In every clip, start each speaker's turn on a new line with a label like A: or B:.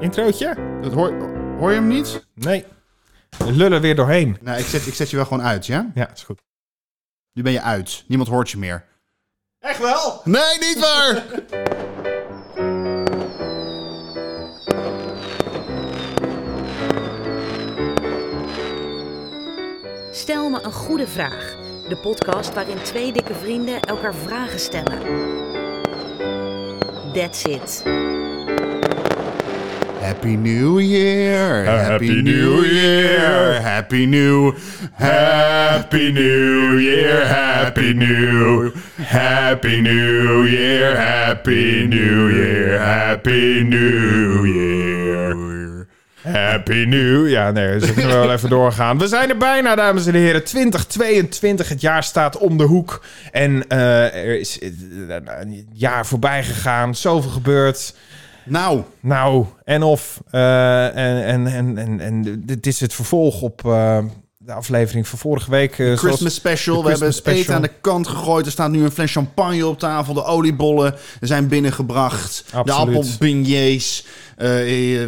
A: Introotje?
B: Dat hoor, hoor je hem niet?
A: Nee. We lullen weer doorheen.
B: Nou, ik zet, ik zet je wel gewoon uit, ja?
A: Ja, is goed.
B: Nu ben je uit. Niemand hoort je meer.
A: Echt wel?
B: Nee, niet waar!
C: Stel me een goede vraag. De podcast waarin twee dikke vrienden elkaar vragen stellen. That's it.
B: Happy New Year!
A: Oh, Happy New Year.
B: Happy New... Happy New Year! Happy New... Happy New Year! Happy New Year! Happy New Year!
A: Happy New. Ja, nee, we zullen wel even doorgaan. We zijn er bijna, dames en heren. 2022, het jaar staat om de hoek. En eh, er is eh, een jaar voorbij gegaan. Zoveel gebeurd.
B: Nou,
A: Nou, en of. eh, en, en, en, en, en dit is het vervolg op eh, de aflevering van vorige week. eh, zoals-
B: Christmas special.
A: de
B: we hebben
A: Christmas
B: het eten
A: special.
B: aan de kant gegooid. Er staat nu een fles champagne op tafel. De oliebollen zijn binnengebracht. De
A: Absoluut.
B: appelbeignets. eh, eh,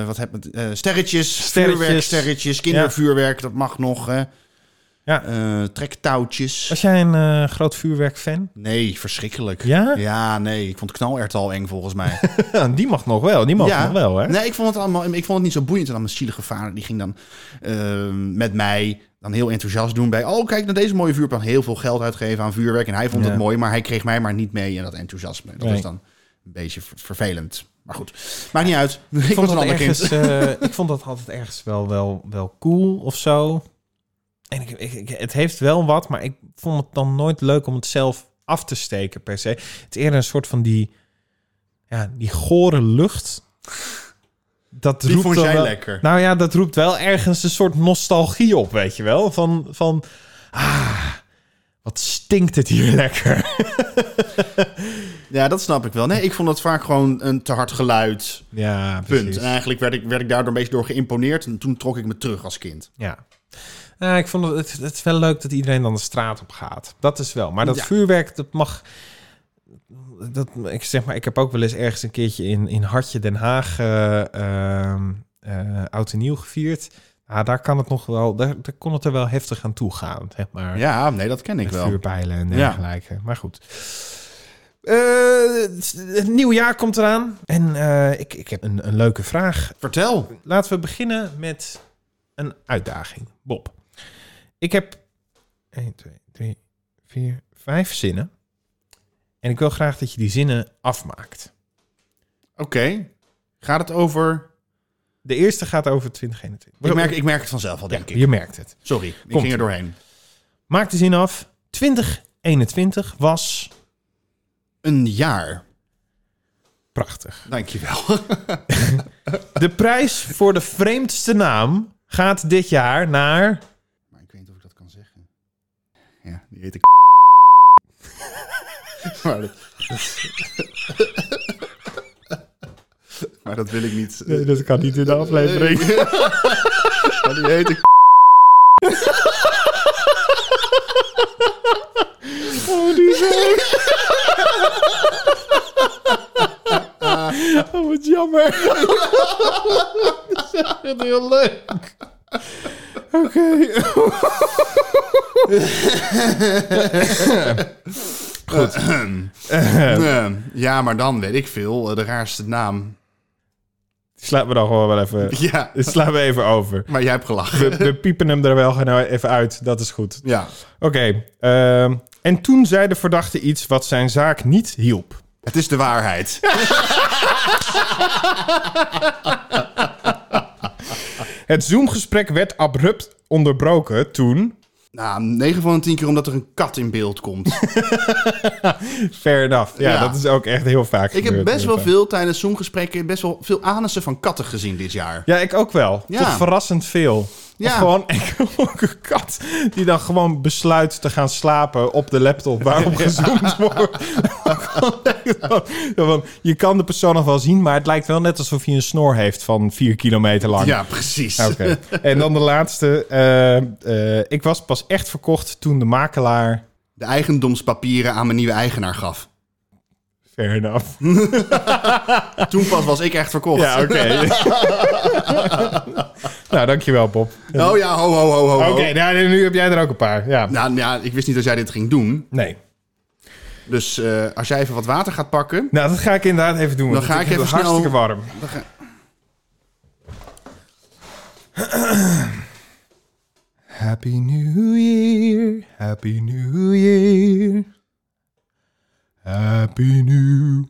B: eh, wat heb het? eh, sterretjes,
A: Sterretjes.
B: vuurwerksterretjes, kindervuurwerk, dat mag nog. Hè.
A: Ja.
B: Eh, trektouwtjes.
A: Was jij een eh, groot vuurwerkfan?
B: Nee, verschrikkelijk.
A: Ja?
B: Ja, nee. Ik vond knalert al eng volgens mij.
A: Ja, die mag nog wel. Die mag nog wel, hè?
B: Nee, ik vond het allemaal. Ik vond het niet zo boeiend. En dan mijn zielige vader die ging dan ehm, met mij dan heel enthousiast doen bij. Oh, kijk naar deze mooie vuurplan. Heel veel geld uitgeven aan vuurwerk. En hij vond
A: Ja.
B: het mooi, maar hij kreeg mij maar niet mee in dat enthousiasme. Dat
A: Nee.
B: was dan een beetje ver- vervelend. Maar goed, maakt niet uit. Ik, was een
A: dat
B: ander kind.
A: ergens, eh, ik vond dat altijd ergens wel, wel, wel cool of zo. En ik, ik, ik- het heeft wel wat, maar ik vond het dan nooit leuk om het zelf af te steken per se. Het is eerder een soort van die, ja, die gore lucht. Dat
B: Die
A: roept
B: vond
A: dan
B: jij
A: wel-
B: lekker.
A: Nou ja, dat roept wel ergens een soort nostalgie op, weet je wel. Van, van ah, wat stinkt het hier lekker.
B: Ja, dat snap ik wel. Nee, ik vond dat vaak gewoon een te hard geluid.
A: Ja,
B: Punt. En eigenlijk werd ik, werd ik daardoor een beetje door geïmponeerd. En toen trok ik me terug als kind.
A: Ja. Nou, ik vond het, het, het is wel leuk dat iedereen dan de straat op gaat. Dat is wel. Maar dat
B: Ja.
A: vuurwerk, dat mag. Dat, ik zeg maar, ik heb ook wel eens ergens een keertje in, in Hartje Den Haag eh ehm, eh, oud en nieuw gevierd. Ah, daar kan het nog wel, daar, daar kon het er wel heftig aan toe gaan, zeg maar.
B: Ja, nee, dat ken ik
A: Met
B: wel.
A: vuurpijlen en
B: Ja.
A: dergelijke. Maar goed. Eh, het, het nieuwe jaar komt eraan. En eh, ik, ik heb een, een leuke vraag
B: Vertel.
A: Laten we beginnen met een uitdaging. Bob, ik heb 1, 2, 3, 4, 5 zinnen. En ik wil graag dat je die zinnen afmaakt.
B: Oké. Gaat het over...
A: De eerste gaat over 2021.
B: Ik merk, ik merk het vanzelf al,
A: ja,
B: denk ik.
A: je merkt het.
B: Sorry, ik
A: Komt-ie.
B: ging er doorheen.
A: Maak de zin af. 2021 was
B: Een jaar.
A: prachtig.
B: Dankjewel.
A: De prijs voor de vreemdste naam gaat dit jaar naar...
B: Maar ik weet niet of ik dat kan zeggen. Ja, die heet ik. maar, dat... maar dat wil ik niet.
A: dat kan niet in de aflevering.
B: Maar die heet ik.
A: Oh, die is Oh, wat jammer.
B: Dat is heel leuk.
A: Oké.
B: ja, maar dan weet ik veel. eh, De raarste naam.
A: Slaat me dan gewoon wel even...
B: Ja,
A: Dit slaan we even over.
B: maar jij hebt gelachen.
A: We, we piepen hem er wel gewoon nou even uit. Dat is goed.
B: Ja.
A: Oké. ehm, en toen zei de verdachte iets wat zijn zaak niet hielp.
B: Het is de waarheid.
A: Het Zoom-gesprek werd abrupt onderbroken toen...
B: Nou, 9 van de 10 keer omdat er een kat in beeld komt.
A: Fair enough. Ja,
B: Ja.
A: dat is ook echt heel vaak
B: Ik heb
A: gebeurd,
B: best wel
A: inderdaad.
B: veel tijdens Zoom-gesprekken best wel veel anussen van katten gezien dit jaar.
A: Ja, ik ook wel.
B: Ja.
A: Toch verrassend veel.
B: Ja.
A: Of gewoon ik heb ook een kat die dan gewoon besluit te gaan slapen op de laptop waarop gezoomd wordt. Ja, want je kan de persoon nog wel zien, maar het lijkt wel net alsof je een snor heeft van vier kilometer lang.
B: Ja, precies.
A: Oké. En dan de laatste. eh, eh, ik was pas echt verkocht toen de makelaar
B: De eigendomspapieren aan mijn nieuwe eigenaar gaf.
A: Fair enough.
B: Toen pas was ik echt verkocht.
A: Ja, oké. nou, dankjewel, Bob.
B: Oh ja, ho, ho, ho, ho.
A: Oké,
B: ho.
A: nou, nu heb jij er ook een paar. Ja.
B: Nou ja, ik wist niet dat jij dit ging doen.
A: Nee.
B: Dus eh, als jij even wat water gaat pakken...
A: Nou, dat ga ik inderdaad even doen.
B: Dan
A: want
B: ga
A: het
B: ik
A: is
B: even snel-
A: hartstikke warm.
B: dan ga-
A: Happy New Year. Happy New Year. Happy New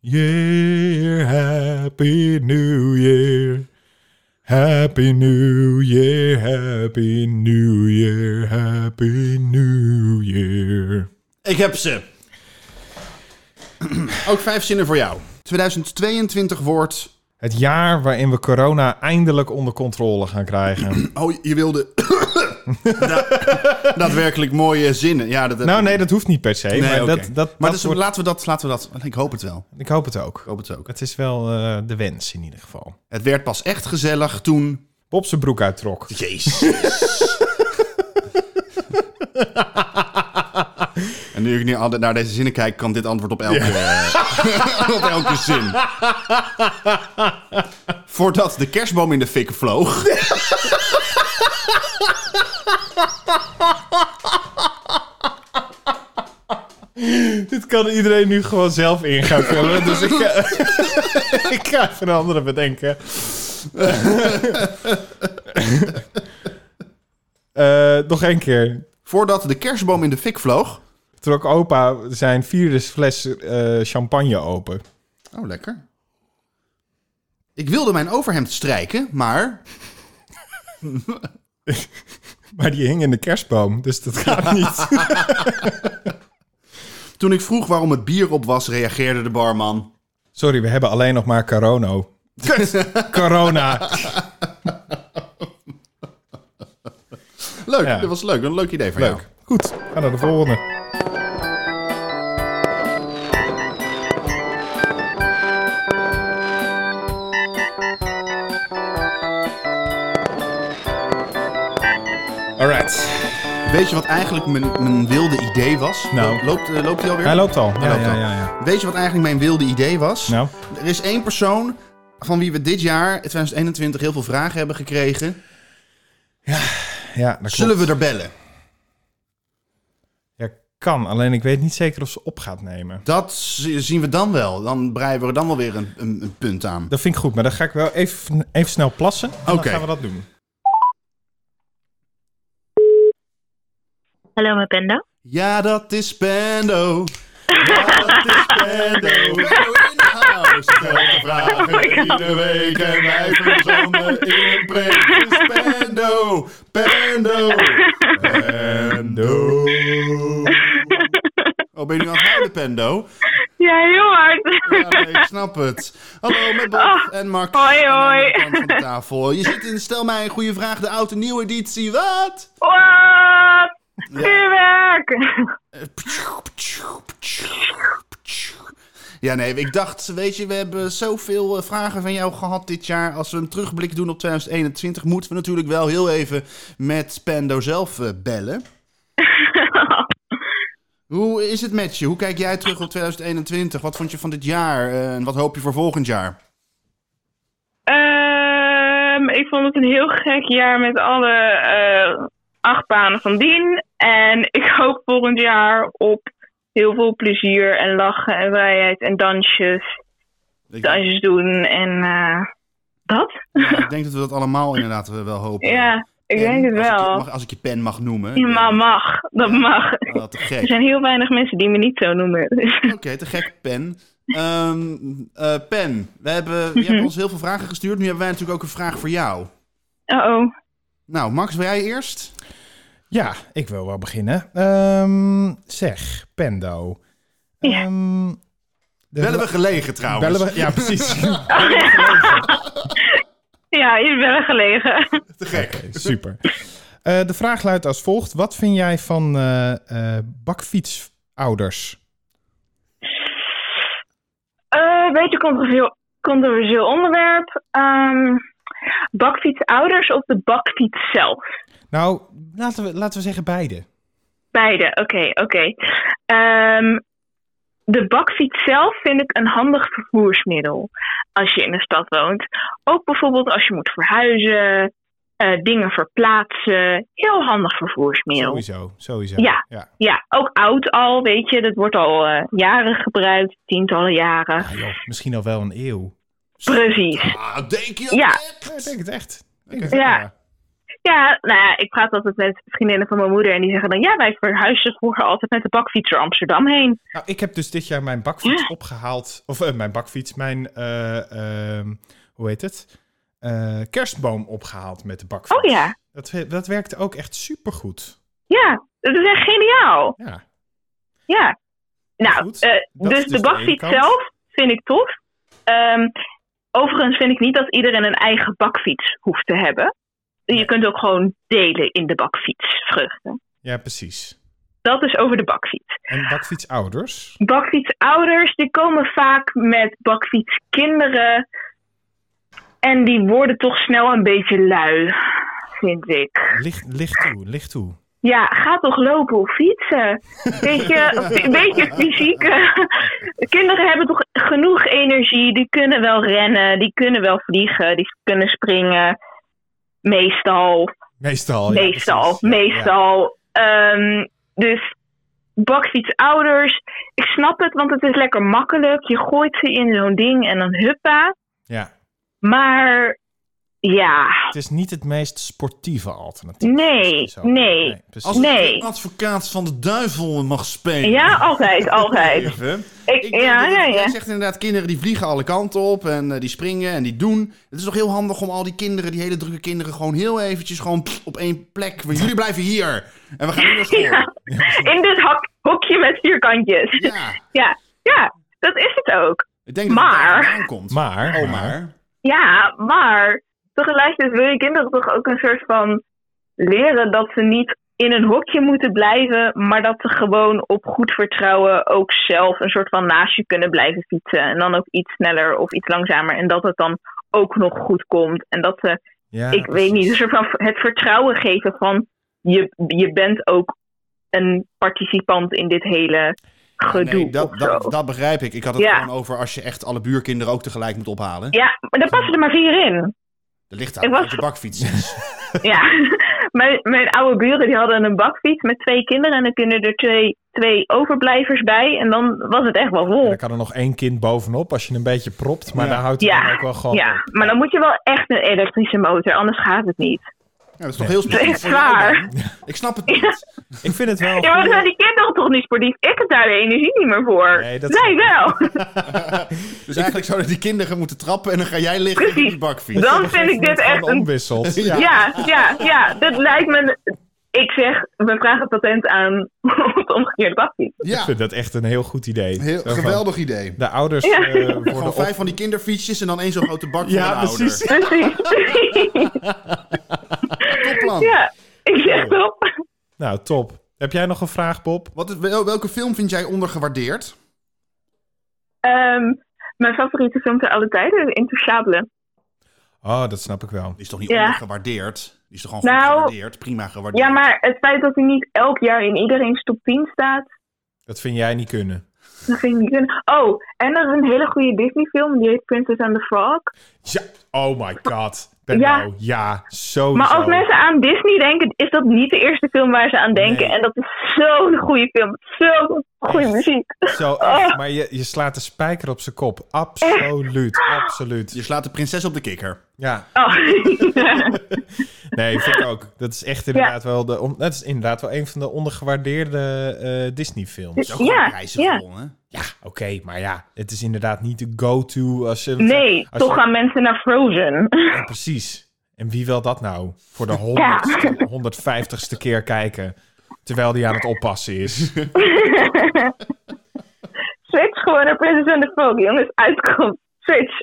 A: Year. Happy New Year. Happy New Year. Happy New Year. Happy New Year.
B: Ik heb ze. Ook vijf zinnen voor jou. 2022 wordt...
A: Het jaar waarin we corona eindelijk onder controle gaan krijgen.
B: Oh, je wilde... Da- daadwerkelijk mooie zinnen. Ja, dat,
A: nou, nee, dat hoeft niet per se.
B: Nee,
A: maar
B: oké.
A: dat, dat,
B: Maar
A: dat
B: dus
A: wordt-
B: laten we dat, laten we dat. Ik hoop het wel.
A: Ik hoop het ook.
B: Ik hoop het ook.
A: Het is wel eh, de wens in ieder geval.
B: Het werd pas echt gezellig toen.
A: Bob zijn broek uittrok.
B: Jezus. en nu ik nu altijd naar deze zinnen kijk, kan dit antwoord op elke, op elke zin. Voordat de kerstboom in de fik vloog.
A: Dit kan iedereen nu gewoon zelf in gaan vullen. Dus ik, eh, ik ga even een andere bedenken. Eh, nog één keer.
B: Voordat de kerstboom in de fik vloog.
A: Trok opa zijn vierde fles eh, champagne open.
B: Oh, lekker. Ik wilde mijn overhemd strijken, maar
A: Maar die hing in de kerstboom, dus dat gaat niet.
B: toen ik vroeg waarom het bier op was, reageerde de barman.
A: Sorry, we hebben alleen nog maar corona. corona.
B: Leuk,
A: Ja.
B: dat was leuk. Een leuk idee van jou.
A: Leuk. Goed, ga naar de volgende. Alright.
B: Weet je wat eigenlijk mijn, mijn wilde idee was?
A: Nou.
B: Lo- Loopt, eh, loopt hij alweer?
A: Hij loopt al. Ja,
B: loopt
A: ja,
B: al.
A: ja, ja.
B: Weet je wat eigenlijk mijn wilde idee was?
A: Nou,
B: Er is één persoon van wie we dit jaar, 2021, heel veel vragen hebben gekregen.
A: ja, dat klopt.
B: Zullen we er bellen?
A: Ja, kan. Alleen ik weet niet zeker of ze op gaat nemen.
B: Dat z- zien we dan wel. Dan breien we er dan wel weer een, een, een punt aan.
A: Dat vind ik goed, maar dan ga ik wel even, even snel plassen. En dan
B: Oké.
A: gaan we dat doen.
C: Hallo, met Penda.
B: Ja, dat is Pando. Ja, dat is Pando. Pando in de house. Stel de
C: Oh
B: vragen iedere week en wij verzonnen in een preek. Het is Pando. Pando. Pando. Oh, ben je nu aan het houden, Pando?
C: Ja, heel hard. Oh.
B: Ja, nee, ik snap het. Hallo, met Bob en Mark.
C: Hoi,
B: aan de andere
C: hoi.
B: kant Van de tafel. Je zit in Stel mij een goede vraag, de oude nieuwe editie. Wat?
C: Wat? Vuurwerk!
B: Ja, nee, ik dacht, weet je, we hebben zoveel eh, vragen van jou gehad dit jaar. Als we een terugblik doen op 2021, moeten we natuurlijk wel heel even met Pendo zelf eh, bellen. Hoe is het met je? Hoe kijk jij terug op 2021? Wat vond je van dit jaar eh, en wat hoop je voor volgend jaar?
C: Ehm, ik vond het een heel gek jaar met alle eh achtbanen van dien. En ik hoop volgend jaar op heel veel plezier en lachen en vrijheid en dansjes.
B: Ik,
C: Dansjes doen en eh, dat.
B: ja, ik denk dat we dat allemaal inderdaad eh, wel hopen.
C: Ja, ik
B: En
C: denk het
B: als Ik, je-
C: wel.
B: mag, als ik je pen mag noemen.
C: Ja, maar mag. Dat mag.
B: Ah, te gek.
C: Er zijn heel weinig mensen die me niet zo noemen. Dus-
B: Oké, te gek, Pen. Ehm, eh, Pen, we hebben, je hebt ons heel veel vragen gestuurd. Nu hebben wij natuurlijk ook een vraag voor jou.
C: Uh-oh.
B: Nou, Max, wil jij eerst?
A: Ja, ik wil wel beginnen. Ehm, zeg, Pendo.
C: Ja.
A: Ehm, de-
B: Bellen we gelegen trouwens.
A: Bellen we- ja, precies.
C: Ja, je bent wel gelegen.
B: Te gek.
A: Oké, super. Eh, de vraag luidt als volgt. Wat vind jij van eh, eh, bakfietsouders?
C: Eh, beetje controversieel, controversieel onderwerp. Ehm, bakfietsouders of de bakfiets zelf?
A: Nou, laten we, laten we zeggen beide.
C: Beide, oké, oké. Ehm, de bakfiets zelf vind ik een handig vervoersmiddel als je in de stad woont. Ook bijvoorbeeld als je moet verhuizen, eh, dingen verplaatsen. Heel handig vervoersmiddel.
D: Sowieso, sowieso.
C: Ja. Ja, ook oud al, weet je. Dat wordt al eh, jaren gebruikt, tientallen jaren.
D: Ah, joh, misschien al wel een eeuw.
C: Precies.
D: Ah, denk je dat
C: Ja.
D: echt?
A: Ja, ik denk het echt.
D: Ik denk
C: Ja.
D: het,
C: Ja, nou ja, ik praat altijd met vriendinnen van mijn moeder en die zeggen dan... Ja, wij verhuisden vroeger altijd met de bakfiets door Amsterdam heen.
D: Nou, ik heb dus dit jaar mijn bakfiets opgehaald. Of eh, mijn bakfiets, mijn, eh, ehm, hoe heet het? Eh, kerstboom opgehaald met de bakfiets.
C: Oh ja,
D: Dat, we- dat werkte ook echt supergoed.
C: ja, dat is echt geniaal.
D: Ja.
C: Ja. Nou,
D: Goed,
C: eh,
D: dat
C: dus,
D: is dus
C: de
D: de
C: bakfiets
D: ene kant.
C: zelf vind ik tof. Ehm, overigens vind ik niet dat iedereen een eigen bakfiets hoeft te hebben. Je kunt ook gewoon delen in de bakfiets vruchten.
D: ja, precies.
C: Dat is over de bakfiets.
D: En bakfietsouders?
C: bakfietsouders die komen vaak met bakfietskinderen. En die worden toch snel een beetje lui, vind ik.
D: Licht, licht toe, licht toe.
C: Ja, ga toch lopen of fietsen. Weet je, een beetje fysiek. Kinderen hebben toch genoeg energie. Die kunnen wel rennen, die kunnen wel vliegen, die kunnen springen. Meestal
D: Meestal. Oh, ja,
C: meestal,
D: precies. Ja,
C: meestal. Ehm, dus bakfietsouders, ik snap het, want het is lekker makkelijk. Je gooit ze in zo'n ding en dan huppa.
D: Ja. Ja.
C: Maar ja,
D: Het is niet het meest sportieve alternatief.
C: nee,
D: Zo.
C: nee.
D: precies.
B: Als
C: Nee.
B: ik de advocaat van de duivel mag spelen.
C: Ja, altijd, altijd.
B: Even.
C: Ik, ja, ja, ja.
B: Jij zegt inderdaad, kinderen die vliegen alle kanten op en eh, die springen en die doen. Het is toch heel handig om al die kinderen, die hele drukke kinderen, gewoon heel eventjes gewoon pff, op één plek. Want jullie blijven hier en we gaan nu naar school. Ja.
C: In dit hak, hokje met vierkantjes. Ja, ja, dat is het ook.
B: Ik denk dat
C: Maar-
B: het daar vandaan komt.
D: Maar,
B: Oh, maar.
C: Ja, maar tegelijkertijd wil je kinderen toch ook een soort van leren dat ze niet in een hokje moeten blijven, maar dat ze gewoon op goed vertrouwen ook zelf een soort van naast je kunnen blijven fietsen. En dan ook iets sneller of iets langzamer. En dat het dan ook nog goed komt. En dat ze,
D: ja,
C: ik weet niet, een soort van het vertrouwen geven van je, je bent ook een participant in dit hele gedoe.
B: Nee, dat,
C: of zo.
B: dat, dat begrijp ik. Ik had het
C: Ja.
B: gewoon over als je echt alle buurkinderen ook tegelijk moet ophalen.
C: Ja, maar daar passen er maar vier in.
B: Dat ligt
C: Ik
B: aan
C: was-
B: uit je bakfiets. is.
C: Ja, mijn, mijn oude buren die hadden een bakfiets met twee kinderen en dan kunnen er twee, twee overblijvers bij en dan was het echt wel
A: En
C: vol.
A: dan kan er nog één kind bovenop als je een beetje propt. Maar
B: Ja.
A: daar houdt het
C: Ja.
A: dan ook wel gewoon
C: Ja,
A: op.
C: maar dan moet je wel echt een elektrische motor, anders gaat het niet.
A: Oh,
B: Ja, dat is toch heel sportief
C: Echt
B: voor jou
C: waar.
B: dan? Ik snap het niet.
A: Ik vind het wel...
C: Ja, maar dan zijn die kinderen toch niet sportief? Ik heb daar de energie niet meer voor.
A: Nee,
C: Nee,
A: dat-
C: wel.
B: Dus eigenlijk zouden die kinderen moeten trappen en dan ga jij liggen in die
C: Precies.
B: bakfiets.
C: Dan vind ik dit echt een...
A: omwisselt.
B: Ja.
C: Ja, ja, ja, dat lijkt me... Ik zeg, we vragen patent aan op het omgekeerde bakfiets.
A: Ik
B: Ja,
A: vind dat echt een heel goed idee.
B: heel,
A: Zo van,
B: geweldig idee.
A: De ouders
C: Ja.
A: eh, worden
B: Gewoon
A: op...
B: vijf van die kinderfietsjes en dan één zo'n grote bak voor
A: Ja,
B: een ouder.
A: precies.
C: Precies.
B: Topplan.
C: Ja, ik
A: Oh.
C: zeg toch.
A: Nou, top. Heb jij nog een vraag, Bob?
B: Wat, is- wel- welke film vind jij ondergewaardeerd?
C: Ehm, mijn favoriete film ter alle tijden, Intouchable.
A: Oh, dat snap ik wel.
B: Die is toch niet
C: Ja.
B: ondergewaardeerd? Die is toch gewoon
C: Nou,
B: goed gewaardeerd? Prima gewaardeerd.
C: Ja, maar het feit dat hij niet elk jaar in iedereen top 10 staat,
A: Dat vind jij niet kunnen.
C: dat vind ik niet kunnen. Oh, en er is een hele goede Disney-film, die heet Princess and the Frog.
A: Ja. Oh my god. Ben
C: Ja.
A: nou, ja, sowieso.
C: Maar als mensen aan Disney denken, is dat niet de eerste film waar ze aan denken. En dat is zo'n goede film. Zo'n goede muziek.
A: Zo,
C: Oh.
A: echt, maar je, je slaat de spijker op zijn kop. Absoluut, absoluut.
B: Je slaat de prinses op de kikker.
A: Ja,
C: Oh.
A: nee, vind ik ook. Dat is echt inderdaad, wel, de, on- dat is inderdaad wel een van de ondergewaardeerde eh, Disney-films.
B: Is ook gewoon
C: Ja,
B: prijzen
C: ja.
B: gewonnen.
A: Ja, oké, maar ja, het is inderdaad niet de go-to. Als je,
C: nee,
A: als je-
C: toch gaan mensen naar Frozen.
A: Ja, precies. En wie wil dat nou? Voor de honderdste, 150ste keer kijken. Terwijl die aan het oppassen is.
C: Switch gewoon naar Princess and the Frog, jongens. Uitkomt. Switch.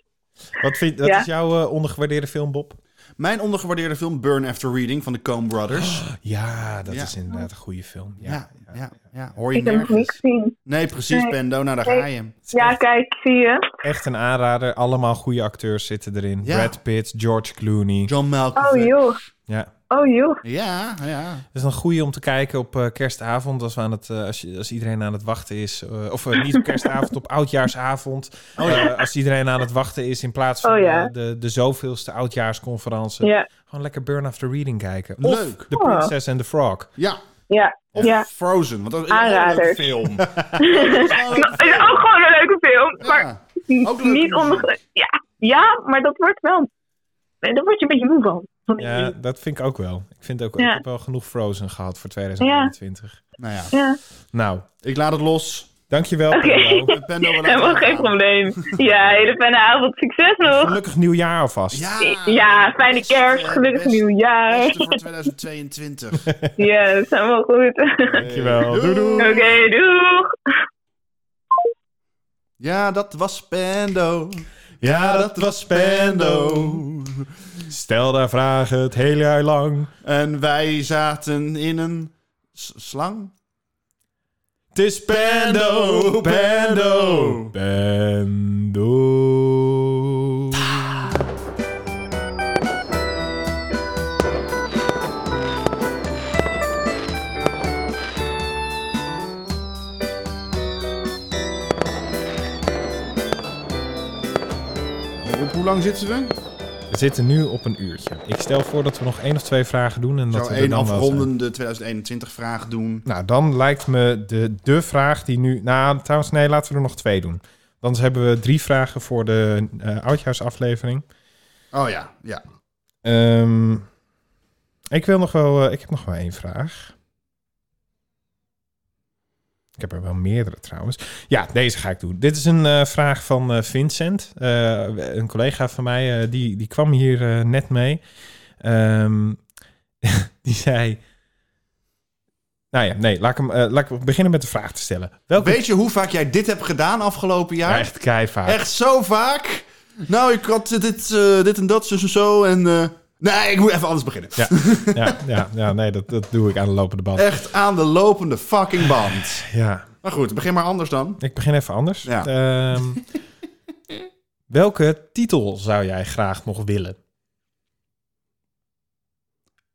A: Wat, vind, wat
C: Ja.
A: is jouw eh, ondergewaardeerde film, Bob?
B: Mijn ondergewaardeerde film Burn After Reading van de Coen Brothers.
A: Ja, dat
B: Ja.
A: is inderdaad een goede film. Ja.
B: Ja, ja. Ja, hoor je
C: Ik heb nog niks
B: nergens.
C: gezien.
B: Nee, precies,
C: Nee.
B: Pendo. Nou, daar
C: Nee.
B: ga je hem.
C: Ja, kijk, zie je?
A: Echt een aanrader. Allemaal goede acteurs zitten erin.
B: Ja.
A: Brad Pitt, George Clooney.
B: John Malkovich.
C: Oh joh,
A: Ja.
C: oh joh.
B: Ja, ja.
A: Dat is een goede om te kijken op eh, kerstavond. Als, we aan het, eh, als, je- als iedereen aan het wachten is. eh, of eh, niet op kerstavond, op oudjaarsavond. Eh, als iedereen aan het wachten is in plaats van
C: Oh ja.
A: eh, de, de zoveelste oudjaarsconferentie.
C: Ja,
A: Gewoon lekker Burn After Reading kijken. Of
B: Leuk.
C: Oh.
A: The Princess and the Frog.
B: Ja.
C: ja,
B: Of
C: ja.
B: Frozen, want dat is een
C: Aanrader.
B: hele leuke film. Oh, Dat is wel een leuke
C: Nou,
B: film.
C: ook gewoon een leuke film, maar
B: Ja. Ook leuke
C: niet onder...
B: muziek.
C: Ja, ja, maar dat wordt wel... Nee, Daar word je een beetje moe van. van die
A: Ja,
C: film.
A: dat vind ik ook wel. Ik, vind ook, ik
C: Ja.
A: heb wel genoeg Frozen gehad voor 2021.
B: Nou ja,
C: ja.
A: Nou,
B: ik laat het los.
A: dankjewel.
C: Oké.
A: Pablo.
B: Pendo, we laten
C: Helemaal
B: het
C: geen
B: gaan.
C: probleem. Ja, hele fijne avond. Succes nog.
A: Gelukkig nieuwjaar alvast.
B: Ja,
C: Ja, fijne
B: beste,
C: kerst. Gelukkig
B: beste,
C: nieuwjaar.
B: Beste voor 2022.
C: Ja, dat is helemaal goed.
A: Dankjewel. Doei, doei.
C: Oké, doeg.
B: Ja, dat was Pendo.
A: Ja,
B: dat was Pendo.
A: Stel daar vragen het hele jaar lang.
B: En wij zaten in een s- slang.
A: Het is Pendo, Pendo, Pendo.
B: Op hoe lang zitten we?
A: We zitten nu op een uurtje. Ik stel voor dat we nog één of twee vragen doen. En dat
B: Zou
A: we er
B: één
A: dan wel zijn.
B: afrondende 2021 vraag doen.
A: Nou, dan lijkt me de, de vraag die nu... Nou, trouwens, nee, laten we er nog twee doen. Dan hebben we drie vragen voor de eh, oudjaarsaflevering.
B: Oh ja, ja.
A: Ehm, ik wil nog wel... eh, ik heb nog wel één vraag. Ik heb er wel meerdere trouwens. Ja, deze ga ik doen. Dit is een eh, vraag van eh, Vincent. Eh, een collega van mij, eh, die, die kwam hier eh, net mee. Ehm, die zei... Nou ja, nee, laat ik, hem, eh, laat ik beginnen met de vraag te stellen. Welke...
B: Weet je hoe vaak jij dit hebt gedaan afgelopen
A: Ja,
B: jaar?
A: echt keihard.
B: Echt zo vaak? Nou, ik had dit, eh, dit en dat, zo en zo. En, eh, nee, ik moet even anders beginnen.
A: Ja, ja, ja, ja, nee, dat, dat doe ik aan de lopende band.
B: Echt aan de lopende fucking band.
A: Ja,
B: Maar goed, begin maar anders dan.
A: ik begin even anders.
B: Ja.
A: Ehm, welke titel zou jij graag nog willen?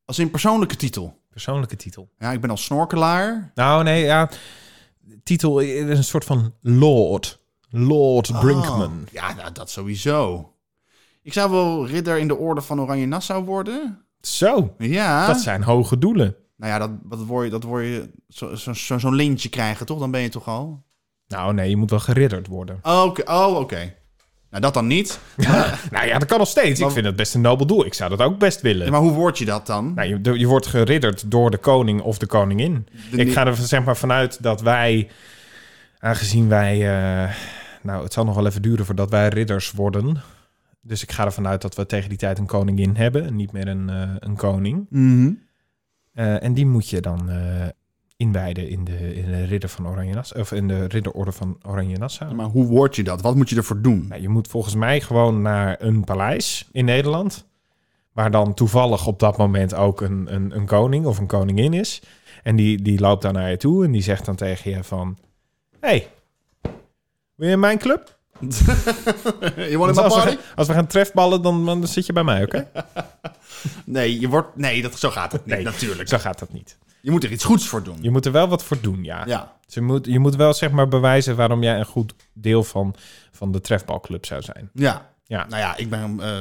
B: Als in persoonlijke titel.
A: Persoonlijke titel.
B: Ja, ik ben al snorkelaar.
A: Nou, nee, ja. Titel eh, is een soort van Lord. Lord Brinkman.
B: Oh, ja, nou, dat sowieso. Ik zou wel ridder in de orde van Oranje Nassau worden.
A: Zo,
B: Ja.
A: dat zijn hoge doelen.
B: Nou ja, dat, dat word je, dat word je zo, zo, zo- zo'n lintje krijgen, toch? Dan ben je toch al...
A: Nou, nee, je moet wel geridderd worden.
B: Oh, oké. Oh, oké. Nou, dat dan niet.
A: Nou ja, dat kan nog steeds. Ik
B: Maar-
A: vind dat best een nobel doel. Ik zou dat ook best willen.
B: Ja, maar hoe word je dat dan?
A: Nou, je, de- je wordt geridderd door de koning of de koningin.
B: De
A: ik
B: ni-
A: ga er zeg maar vanuit dat wij, aangezien wij, eh, nou, het zal nog wel even duren voordat wij ridders worden. Dus ik ga ervan uit dat we tegen die tijd een koningin hebben en niet meer een, eh, een koning.
B: Mhm.
A: Eh, en die moet je dan eh, inwijden in de, in de ridder van Oranje Nassau, of in de ridderorde van Oranje Nassau.
B: Maar hoe word je dat? Wat moet je ervoor doen?
A: Nou, je moet volgens mij gewoon naar een paleis in Nederland. Waar dan toevallig op dat moment ook een, een, een koning of een koningin is. En die, die loopt dan naar je toe en die zegt dan tegen je van... hey, wil je in mijn club?
B: Eh, Je wordt
A: Want
B: in mijn
A: als, we,
B: party?
A: gaan- als we gaan trefballen, dan, dan zit je bij mij, oké?
B: Nee, je wordt... Nee, dat, zo gaat het niet,
A: Nee.
B: natuurlijk.
A: Zo gaat dat niet.
B: Je moet er iets goeds voor doen.
A: Je moet er wel wat voor doen, ja.
B: Ja.
A: Dus je, moet, je moet wel zeg maar bewijzen waarom jij een goed deel van, van de trefbalclub zou zijn.
B: Ja.
A: Ja.
B: Nou ja, ik ben... eh,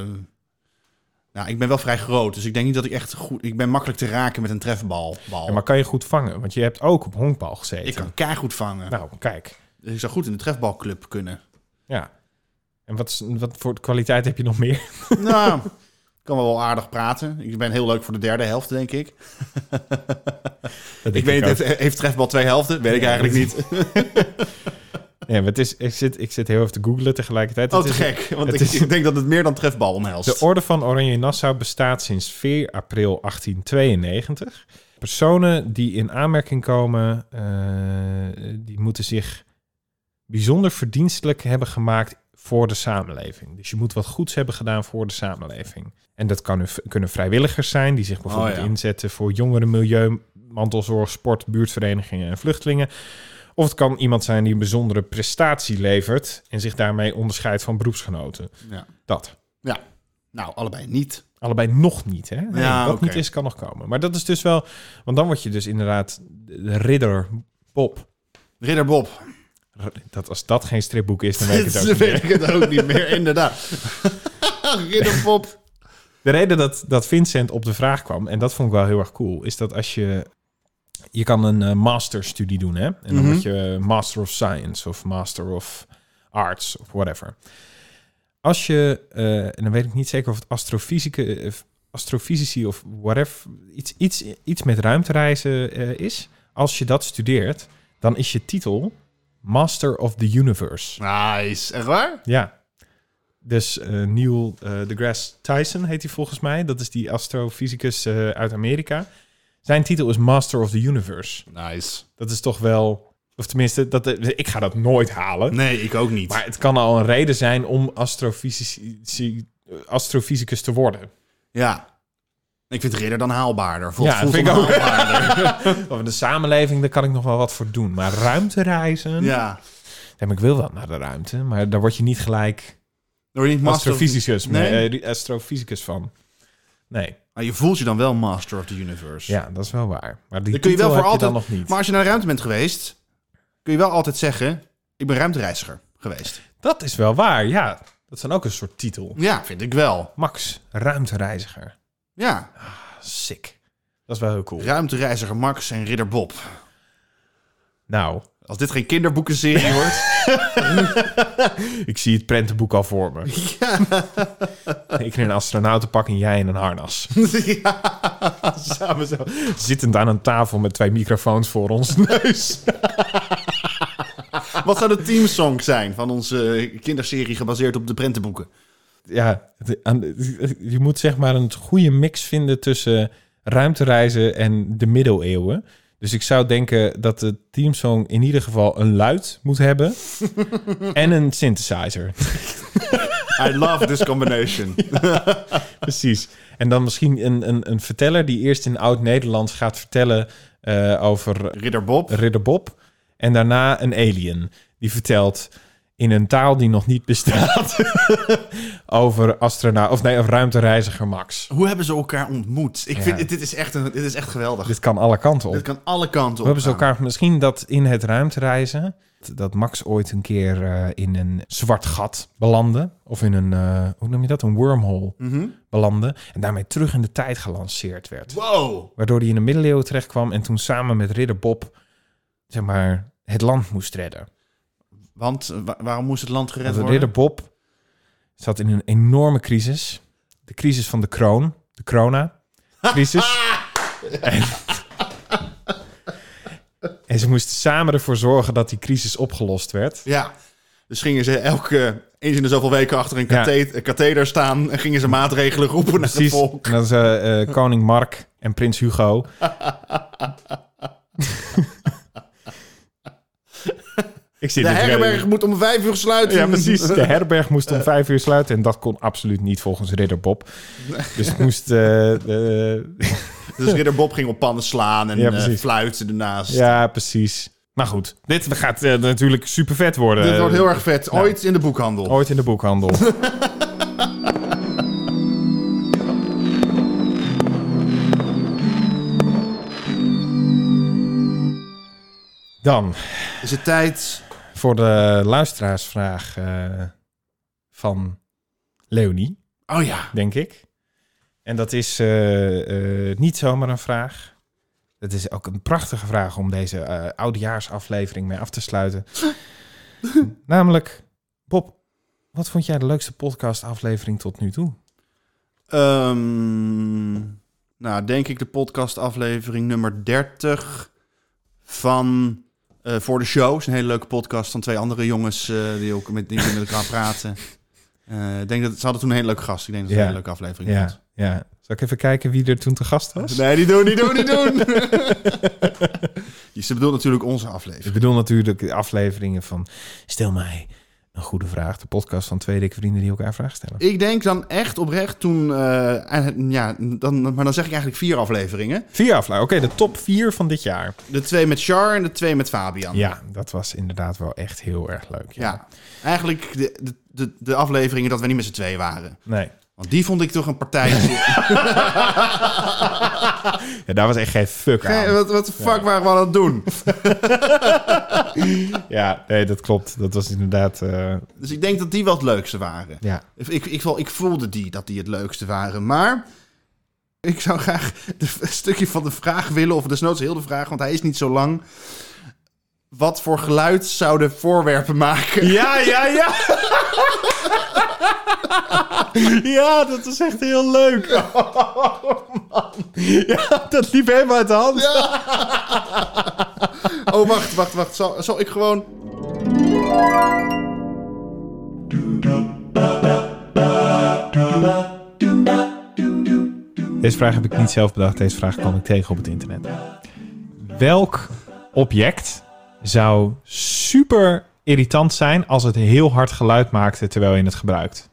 B: nou, ik ben wel vrij groot, dus ik denk niet dat ik echt goed... Ik ben makkelijk te raken met een trefbal. Bal.
A: Ja, maar kan je goed vangen? Want je hebt ook op honkbal gezeten.
B: Oh. Ik kan keihard vangen.
A: Nou, kijk.
B: Dus ik zou goed in de trefbalclub kunnen.
A: Ja. En wat, is- wat voor kwaliteit heb je nog meer?
B: nou, ik kan wel aardig praten. Ik ben heel leuk voor de derde helft, denk ik. ik weet niet, heeft, heeft trefbal twee helften? Weet ik
A: Ja,
B: eigenlijk
A: dat-
B: niet.
A: Nee, maar het is, ik, zit, ik zit heel even te googlen tegelijkertijd.
B: Oh,
A: Het
B: te
A: is-
B: gek. Want
A: het
B: ik,
A: is-
B: ik denk dat het meer dan trefbal omhelst.
A: De Orde van Oranje Nassau bestaat sinds 4 april 1892. Personen die in aanmerking komen, eh, die moeten zich bijzonder verdienstelijk hebben gemaakt voor de samenleving. Dus je moet wat goeds hebben gedaan voor de samenleving. En dat kan, kunnen vrijwilligers zijn die zich bijvoorbeeld
B: ja.
A: inzetten voor jongeren, milieu, mantelzorg, sport, buurtverenigingen en vluchtelingen. Of het kan iemand zijn die een bijzondere prestatie levert en zich daarmee onderscheidt van beroepsgenoten.
B: Ja.
A: Dat.
B: Ja. Nou, allebei niet.
A: Allebei nog niet, hè? Nee,
B: Ja,
A: wat
B: oké.
A: niet is, kan nog komen. Maar dat is dus wel... Want dan word je dus inderdaad de ridder Bob.
B: Ridder Bob.
A: R- Dat, als dat geen stripboek is, dan weet ik
B: Dit
A: het ook niet meer.
B: weet ik het ook niet meer, inderdaad. Ridder Bob.
A: De reden dat, dat Vincent op de vraag kwam, en dat vond ik wel heel erg cool, is dat als je... Je kan een eh, masterstudie doen, hè? En dan
B: Mhm.
A: word je eh, master of science of master of arts of whatever. Als je, eh, en dan weet ik niet zeker of het astrofysica, eh, astrofysici of whatever, iets, iets, iets met ruimtereizen eh, is. Als je dat studeert, dan is je titel Master of the Universe.
B: Nice. Echt waar?
A: Ja. Dus eh, Neil eh, deGrasse Tyson heet hij volgens mij. Dat is die astrofysicus eh, uit Amerika. Zijn titel is Master of the Universe.
B: Nice.
A: Dat is toch wel... Of tenminste, dat, eh, ik ga dat nooit halen.
B: Nee, ik ook niet.
A: Maar het kan al een reden zijn om astrofysici, astrofysicus te worden.
B: Ja. Ik vind Ridder dan haalbaarder. Voelt,
A: Ja, dat
B: voelt
A: vind
B: dan
A: ik ook.
B: haalbaarder.
A: Of de samenleving, daar kan ik nog wel wat voor doen. Maar ruimtereizen... Ja.
B: ja.
A: ik wil wel naar de ruimte, maar daar word je niet gelijk
B: Door niet master of-
A: astrofysicus,
B: Nee?
A: nee. astrofysicus van. Nee.
B: Maar je voelt je dan wel master of the universe.
A: Ja, dat is wel waar. Maar die
B: Dan kun je
A: titel
B: wel voor
A: heb
B: altijd.
A: dan nog niet.
B: Maar als je naar de ruimte bent geweest, kun je wel altijd zeggen: ik ben ruimtereiziger geweest.
A: Dat is wel waar, ja. Dat is dan ook een soort titel.
B: Ja, vind ik wel.
A: Max, ruimtereiziger.
B: Ja,
A: Sick. Dat is wel heel cool.
B: ruimtereiziger Max en Ridder Bob.
A: Nou,
B: Als dit geen kinderboekenserie wordt.
A: ik zie het prentenboek al voor me. Ik in een astronautenpak en jij in een harnas.
B: ja, samen zo.
A: Zittend aan een tafel met twee microfoons voor ons neus.
B: Wat zou de teamsong zijn van onze kinderserie gebaseerd op de prentenboeken?
A: Ja, het- aan de- je moet zeg maar een goede mix vinden tussen ruimtereizen en de middeleeuwen. Dus ik zou denken dat de teamsong in ieder geval een luid moet hebben. en een synthesizer.
B: I love this combination.
A: Precies. En dan misschien een, een, een verteller die eerst in oud-Nederlands gaat vertellen eh, over
B: Ridder Bob.
A: Ridder Bob. En daarna een alien die vertelt in een taal die nog niet bestaat over astronaut of nee, of ruimtereiziger Max.
B: Hoe hebben ze elkaar ontmoet? Ik
A: Ja.
B: vind, dit is echt, een, dit is echt geweldig.
A: Dit kan alle kanten
B: Dit
A: op.
B: kan alle kanten
A: We
B: op.
A: hebben ze elkaar misschien dat in het ruimtereizen dat Max ooit een keer eh, in een zwart gat belandde of in een eh, hoe noem je dat een wormhole belandde en daarmee terug in de tijd gelanceerd werd.
B: Wow.
A: Waardoor hij in de middeleeuwen terecht kwam en toen samen met ridder Bob zeg maar, het land moest redden.
B: Want eh, wa- waarom moest het land gered
A: Want
B: worden?
A: ridder Bob zat in een enorme crisis. De crisis van de kroon, de corona-crisis. en, en ze moesten samen ervoor zorgen dat die crisis opgelost werd.
B: Ja. Dus gingen ze elke eens in de zoveel weken achter een
A: Ja.
B: kathe- een katheder staan en gingen ze maatregelen roepen naar het
A: Precies.
B: volk.
A: En dat is eh, eh, koning Mark en prins Hugo. Ik zit
B: De
A: dit redelijk-
B: herberg moet om vijf uur sluiten.
A: Ja, precies. De herberg moest om vijf uur sluiten. En dat kon absoluut niet volgens Ridder Bob. Dus het moest... eh, eh,
B: Dus Ridder Bob ging op pannen slaan en
A: Ja,
B: eh,
A: precies.
B: fluiten ernaast.
A: ja, precies. Maar goed, dit gaat eh, natuurlijk super vet worden.
B: Dit wordt heel erg vet. Ooit in de boekhandel.
A: eh, Ooit in de boekhandel. Dan,
B: Is het tijd?
A: voor de luisteraarsvraag eh, van Leonie.
B: Oh ja.
A: denk ik. En dat is eh, eh, niet zomaar een vraag. Het is ook een prachtige vraag om deze eh, oudejaarsaflevering mee af te sluiten. Namelijk, Bob, wat vond jij de leukste podcastaflevering tot nu toe?
B: Ehm, nou, denk ik de podcastaflevering nummer 30 van eh, Voor de Show. is een hele leuke podcast van twee andere jongens eh, die ook met, die met elkaar praten. Eh, ik denk dat, ze hadden toen een hele leuke gast. Ik denk dat het
A: Ja.
B: een hele leuke aflevering was.
A: Ja, ja. Zal ik even kijken wie er toen te gast was?
B: Nee, die doen, die doen, die doen. Dus ze bedoelt natuurlijk onze aflevering.
A: Ik bedoel natuurlijk de afleveringen van Stel mij Een goede vraag. De podcast van twee dikke vrienden die elkaar vragen stellen.
B: Ik denk dan echt oprecht toen... eh, en- ja, dan, maar dan zeg ik eigenlijk vier afleveringen.
A: Vier afleveringen. Oké, de top vier van dit jaar.
B: De twee met Char en de twee met Fabian.
A: Ja, dat was inderdaad wel echt heel erg leuk. Ja.
B: Ja. Eigenlijk de, de, de, de afleveringen dat we niet met z'n twee waren.
A: Nee.
B: Want die vond ik toch een partij...
A: Ja, daar was echt geen fuck
B: Hey,
A: aan.
B: wat, wat de fuck waren we aan het doen?
A: Ja, nee, dat klopt. Dat was inderdaad... eh,
B: Dus ik denk dat die wel het leukste waren.
A: ja.
B: Ik, ik, ik, wel- ik voelde die dat die het leukste waren. Maar ik zou graag de- een stukje van de vraag willen, of desnoods heel de vraag, want hij is niet zo lang. Wat voor geluid zouden voorwerpen maken?
A: Ja, ja, ja. Ja, dat is echt heel leuk. Oh, Ja, dat liep helemaal uit de hand.
B: Oh, wacht, wacht, wacht. Zal, zal ik gewoon.
A: Deze vraag heb ik niet zelf bedacht. Deze vraag kwam ik tegen op het internet. Welk object zou super irritant zijn als het heel hard geluid maakte terwijl je het gebruikt?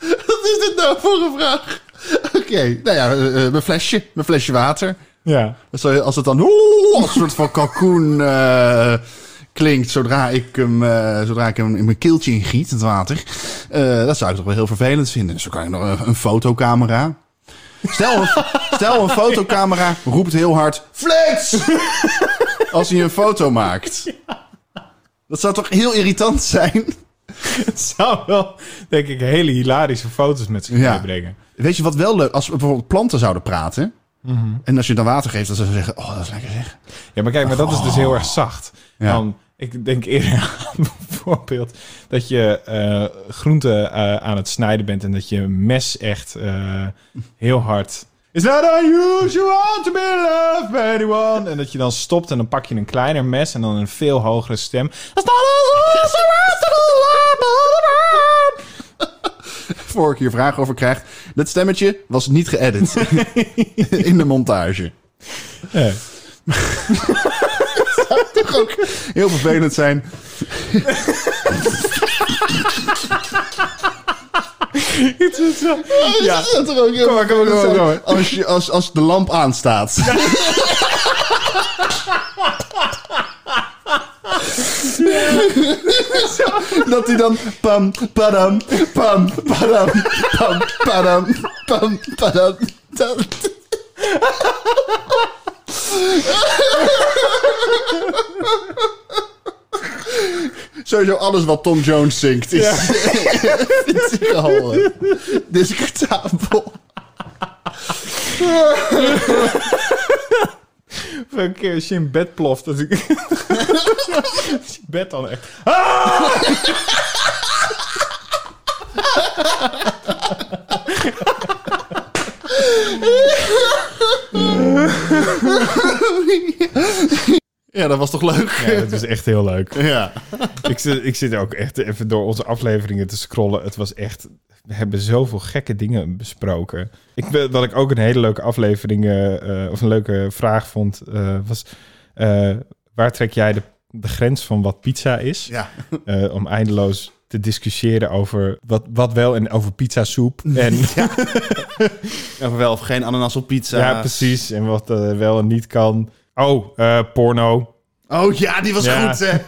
B: Wat is dit nou voor een vraag? Oké, nou ja, eh, eh, mijn flesje. Mijn flesje water.
A: Ja.
B: Als- Als het dan oeh, als een soort van kalkoen eh, klinkt zodra ik, hem, eh, zodra ik hem in mijn keeltje ingiet, het water. eh, dat zou ik toch wel heel vervelend vinden. Dus dan kan ik nog een, een fotocamera. Stel een, stel een fotocamera roept heel hard flex als hij een foto maakt. Dat zou toch heel irritant zijn?
A: Het zou wel, denk ik, hele hilarische foto's met zich
B: Ja.
A: meebrengen.
B: Weet je wat wel leuk? Als we bijvoorbeeld planten zouden praten. En als je dan water geeft, dan zouden ze zeggen: Oh, dat is lekker zeg.
A: Ja, maar kijk, maar dat is dus heel erg zacht.
B: Ja.
A: Dan, ik denk eerder aan bijvoorbeeld dat je eh groenten eh, aan het snijden bent en dat je mes echt eh, heel hard. Is that unusual to be loved by anyone? En dat je dan stopt en dan pak je een kleiner mes en dan een veel hogere stem. That's not unusual to be loved by anyone.
B: vorige keer vragen over krijgt. Dat stemmetje was niet geëdit in de montage.
A: Nee.
B: Toch ook heel vervelend zijn.
A: Het is zo- Ja,
B: Oh, Dat toch ook heel
A: Kom maar, kom maar, kom maar,
B: vervelend
A: kom
B: zijn Als, je, als, als de lamp aanstaat. Dat hij dan pam, padam, pam, padam, pam, padam, pam, padam. Dat- Sowieso alles wat Tom Jones zingt is, vind ik al eh, discutabel.
A: Of een keer als je in bed ploft. Dat ik... Als je bed dan echt...
B: Ja, dat was toch leuk?
A: Ja, dat is echt heel leuk.
B: Ja.
A: ik, zit, ik zit ook echt even door onze afleveringen te scrollen. Het was echt... We hebben zoveel gekke dingen besproken. Ik, ben- wat ik ook een hele leuke aflevering... eh, eh, of een leuke vraag vond... eh, was... eh, waar trek jij de, de grens van wat pizza is?
B: Ja.
A: Eh, om eindeloos te discussiëren over wat, wat wel en over pizzasoep. En
B: Of wel of geen ananas op pizza.
A: ja, precies. En wat eh, wel en niet kan. Oh, eh, porno.
B: Oh ja, die was
A: Ja.
B: goed, hè?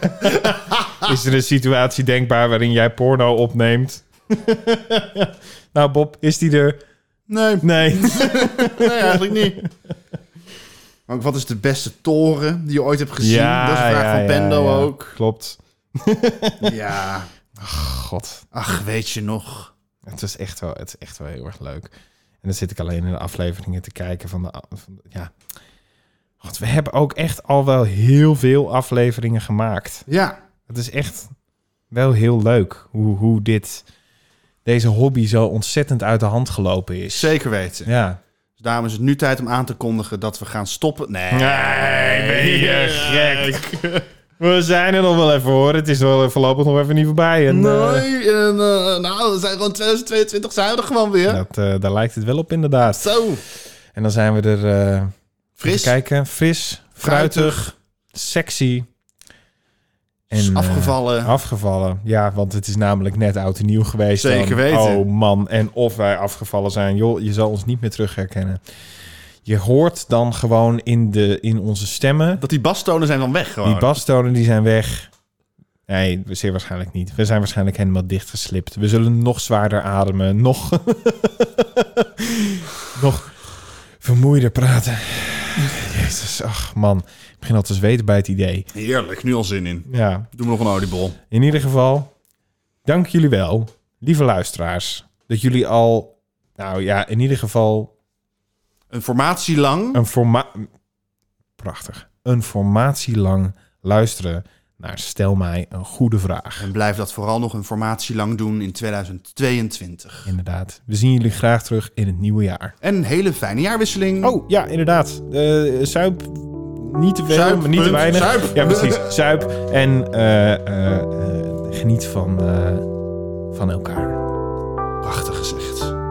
A: Is er een situatie denkbaar waarin jij porno opneemt? nou, Bob, is die er?
B: Nee,
A: Nee.
B: nee, eigenlijk niet. Maar ook, wat is de beste toren die je ooit hebt gezien? dat is een vraag
A: ja,
B: van
A: ja,
B: Pendo
A: ja.
B: ook.
A: Klopt.
B: Ja.
A: God,
B: Ach, weet je nog.
A: het is, echt wel, het is echt wel heel erg leuk. En dan zit ik alleen in de afleveringen te kijken van de... a- Van, de- ja. God, we hebben ook echt al wel heel veel afleveringen gemaakt.
B: Ja.
A: Het is echt wel heel leuk hoe, hoe dit, deze hobby zo ontzettend uit de hand gelopen is.
B: Zeker weten.
A: Ja.
B: Dus daarom is het nu tijd om aan te kondigen dat we gaan stoppen. Nee.
A: Nee, ben je gek. We zijn er nog wel even hoor. Het is wel voorlopig nog even niet voorbij. En, eh,
B: Nee, en, eh, nou, we zijn gewoon 2022 zijn we er gewoon weer.
A: dat, eh, daar lijkt het wel op inderdaad.
B: Zo,
A: En dan zijn we er... eh,
B: fris.
A: even kijken, fris, fruitig, sexy.
B: Is
A: eh,
B: afgevallen.
A: afgevallen. Ja, want het is namelijk net oud en nieuw geweest.
B: Zeker
A: dan.
B: weten.
A: Oh man, en of wij afgevallen zijn. Joh, je zal ons niet meer terug herkennen. Je hoort dan gewoon in, de, in onze stemmen...
B: Dat die bastonen zijn dan weg gewoon.
A: Die bastonen die zijn weg. Nee, zeer waarschijnlijk niet. We zijn waarschijnlijk helemaal dichtgeslipt. We zullen nog zwaarder ademen. Nog... nog vermoeider praten. Jezus, ach man. Ik begin al te zweten bij het idee.
B: Heerlijk, nu al zin in.
A: Ja,
B: Doe me nog een oliebol.
A: in ieder geval, dank jullie wel, lieve luisteraars, dat jullie al, nou ja, in ieder geval
B: Een formatie lang.
A: een forma prachtig, een formatie lang luisteren naar Stel mij een goede vraag.
B: En blijf dat vooral nog een formatie lang doen in 2022.
A: Inderdaad. We zien jullie graag terug in het nieuwe jaar.
B: En een hele fijne jaarwisseling.
A: Oh ja, inderdaad. Eh zuip niet te veel,
B: Zuip,
A: maar niet te
B: punt.
A: weinig.
B: Zuip.
A: Ja, precies. Zuip en eh, eh, eh, geniet van, eh, van elkaar.
B: Prachtig gezegd.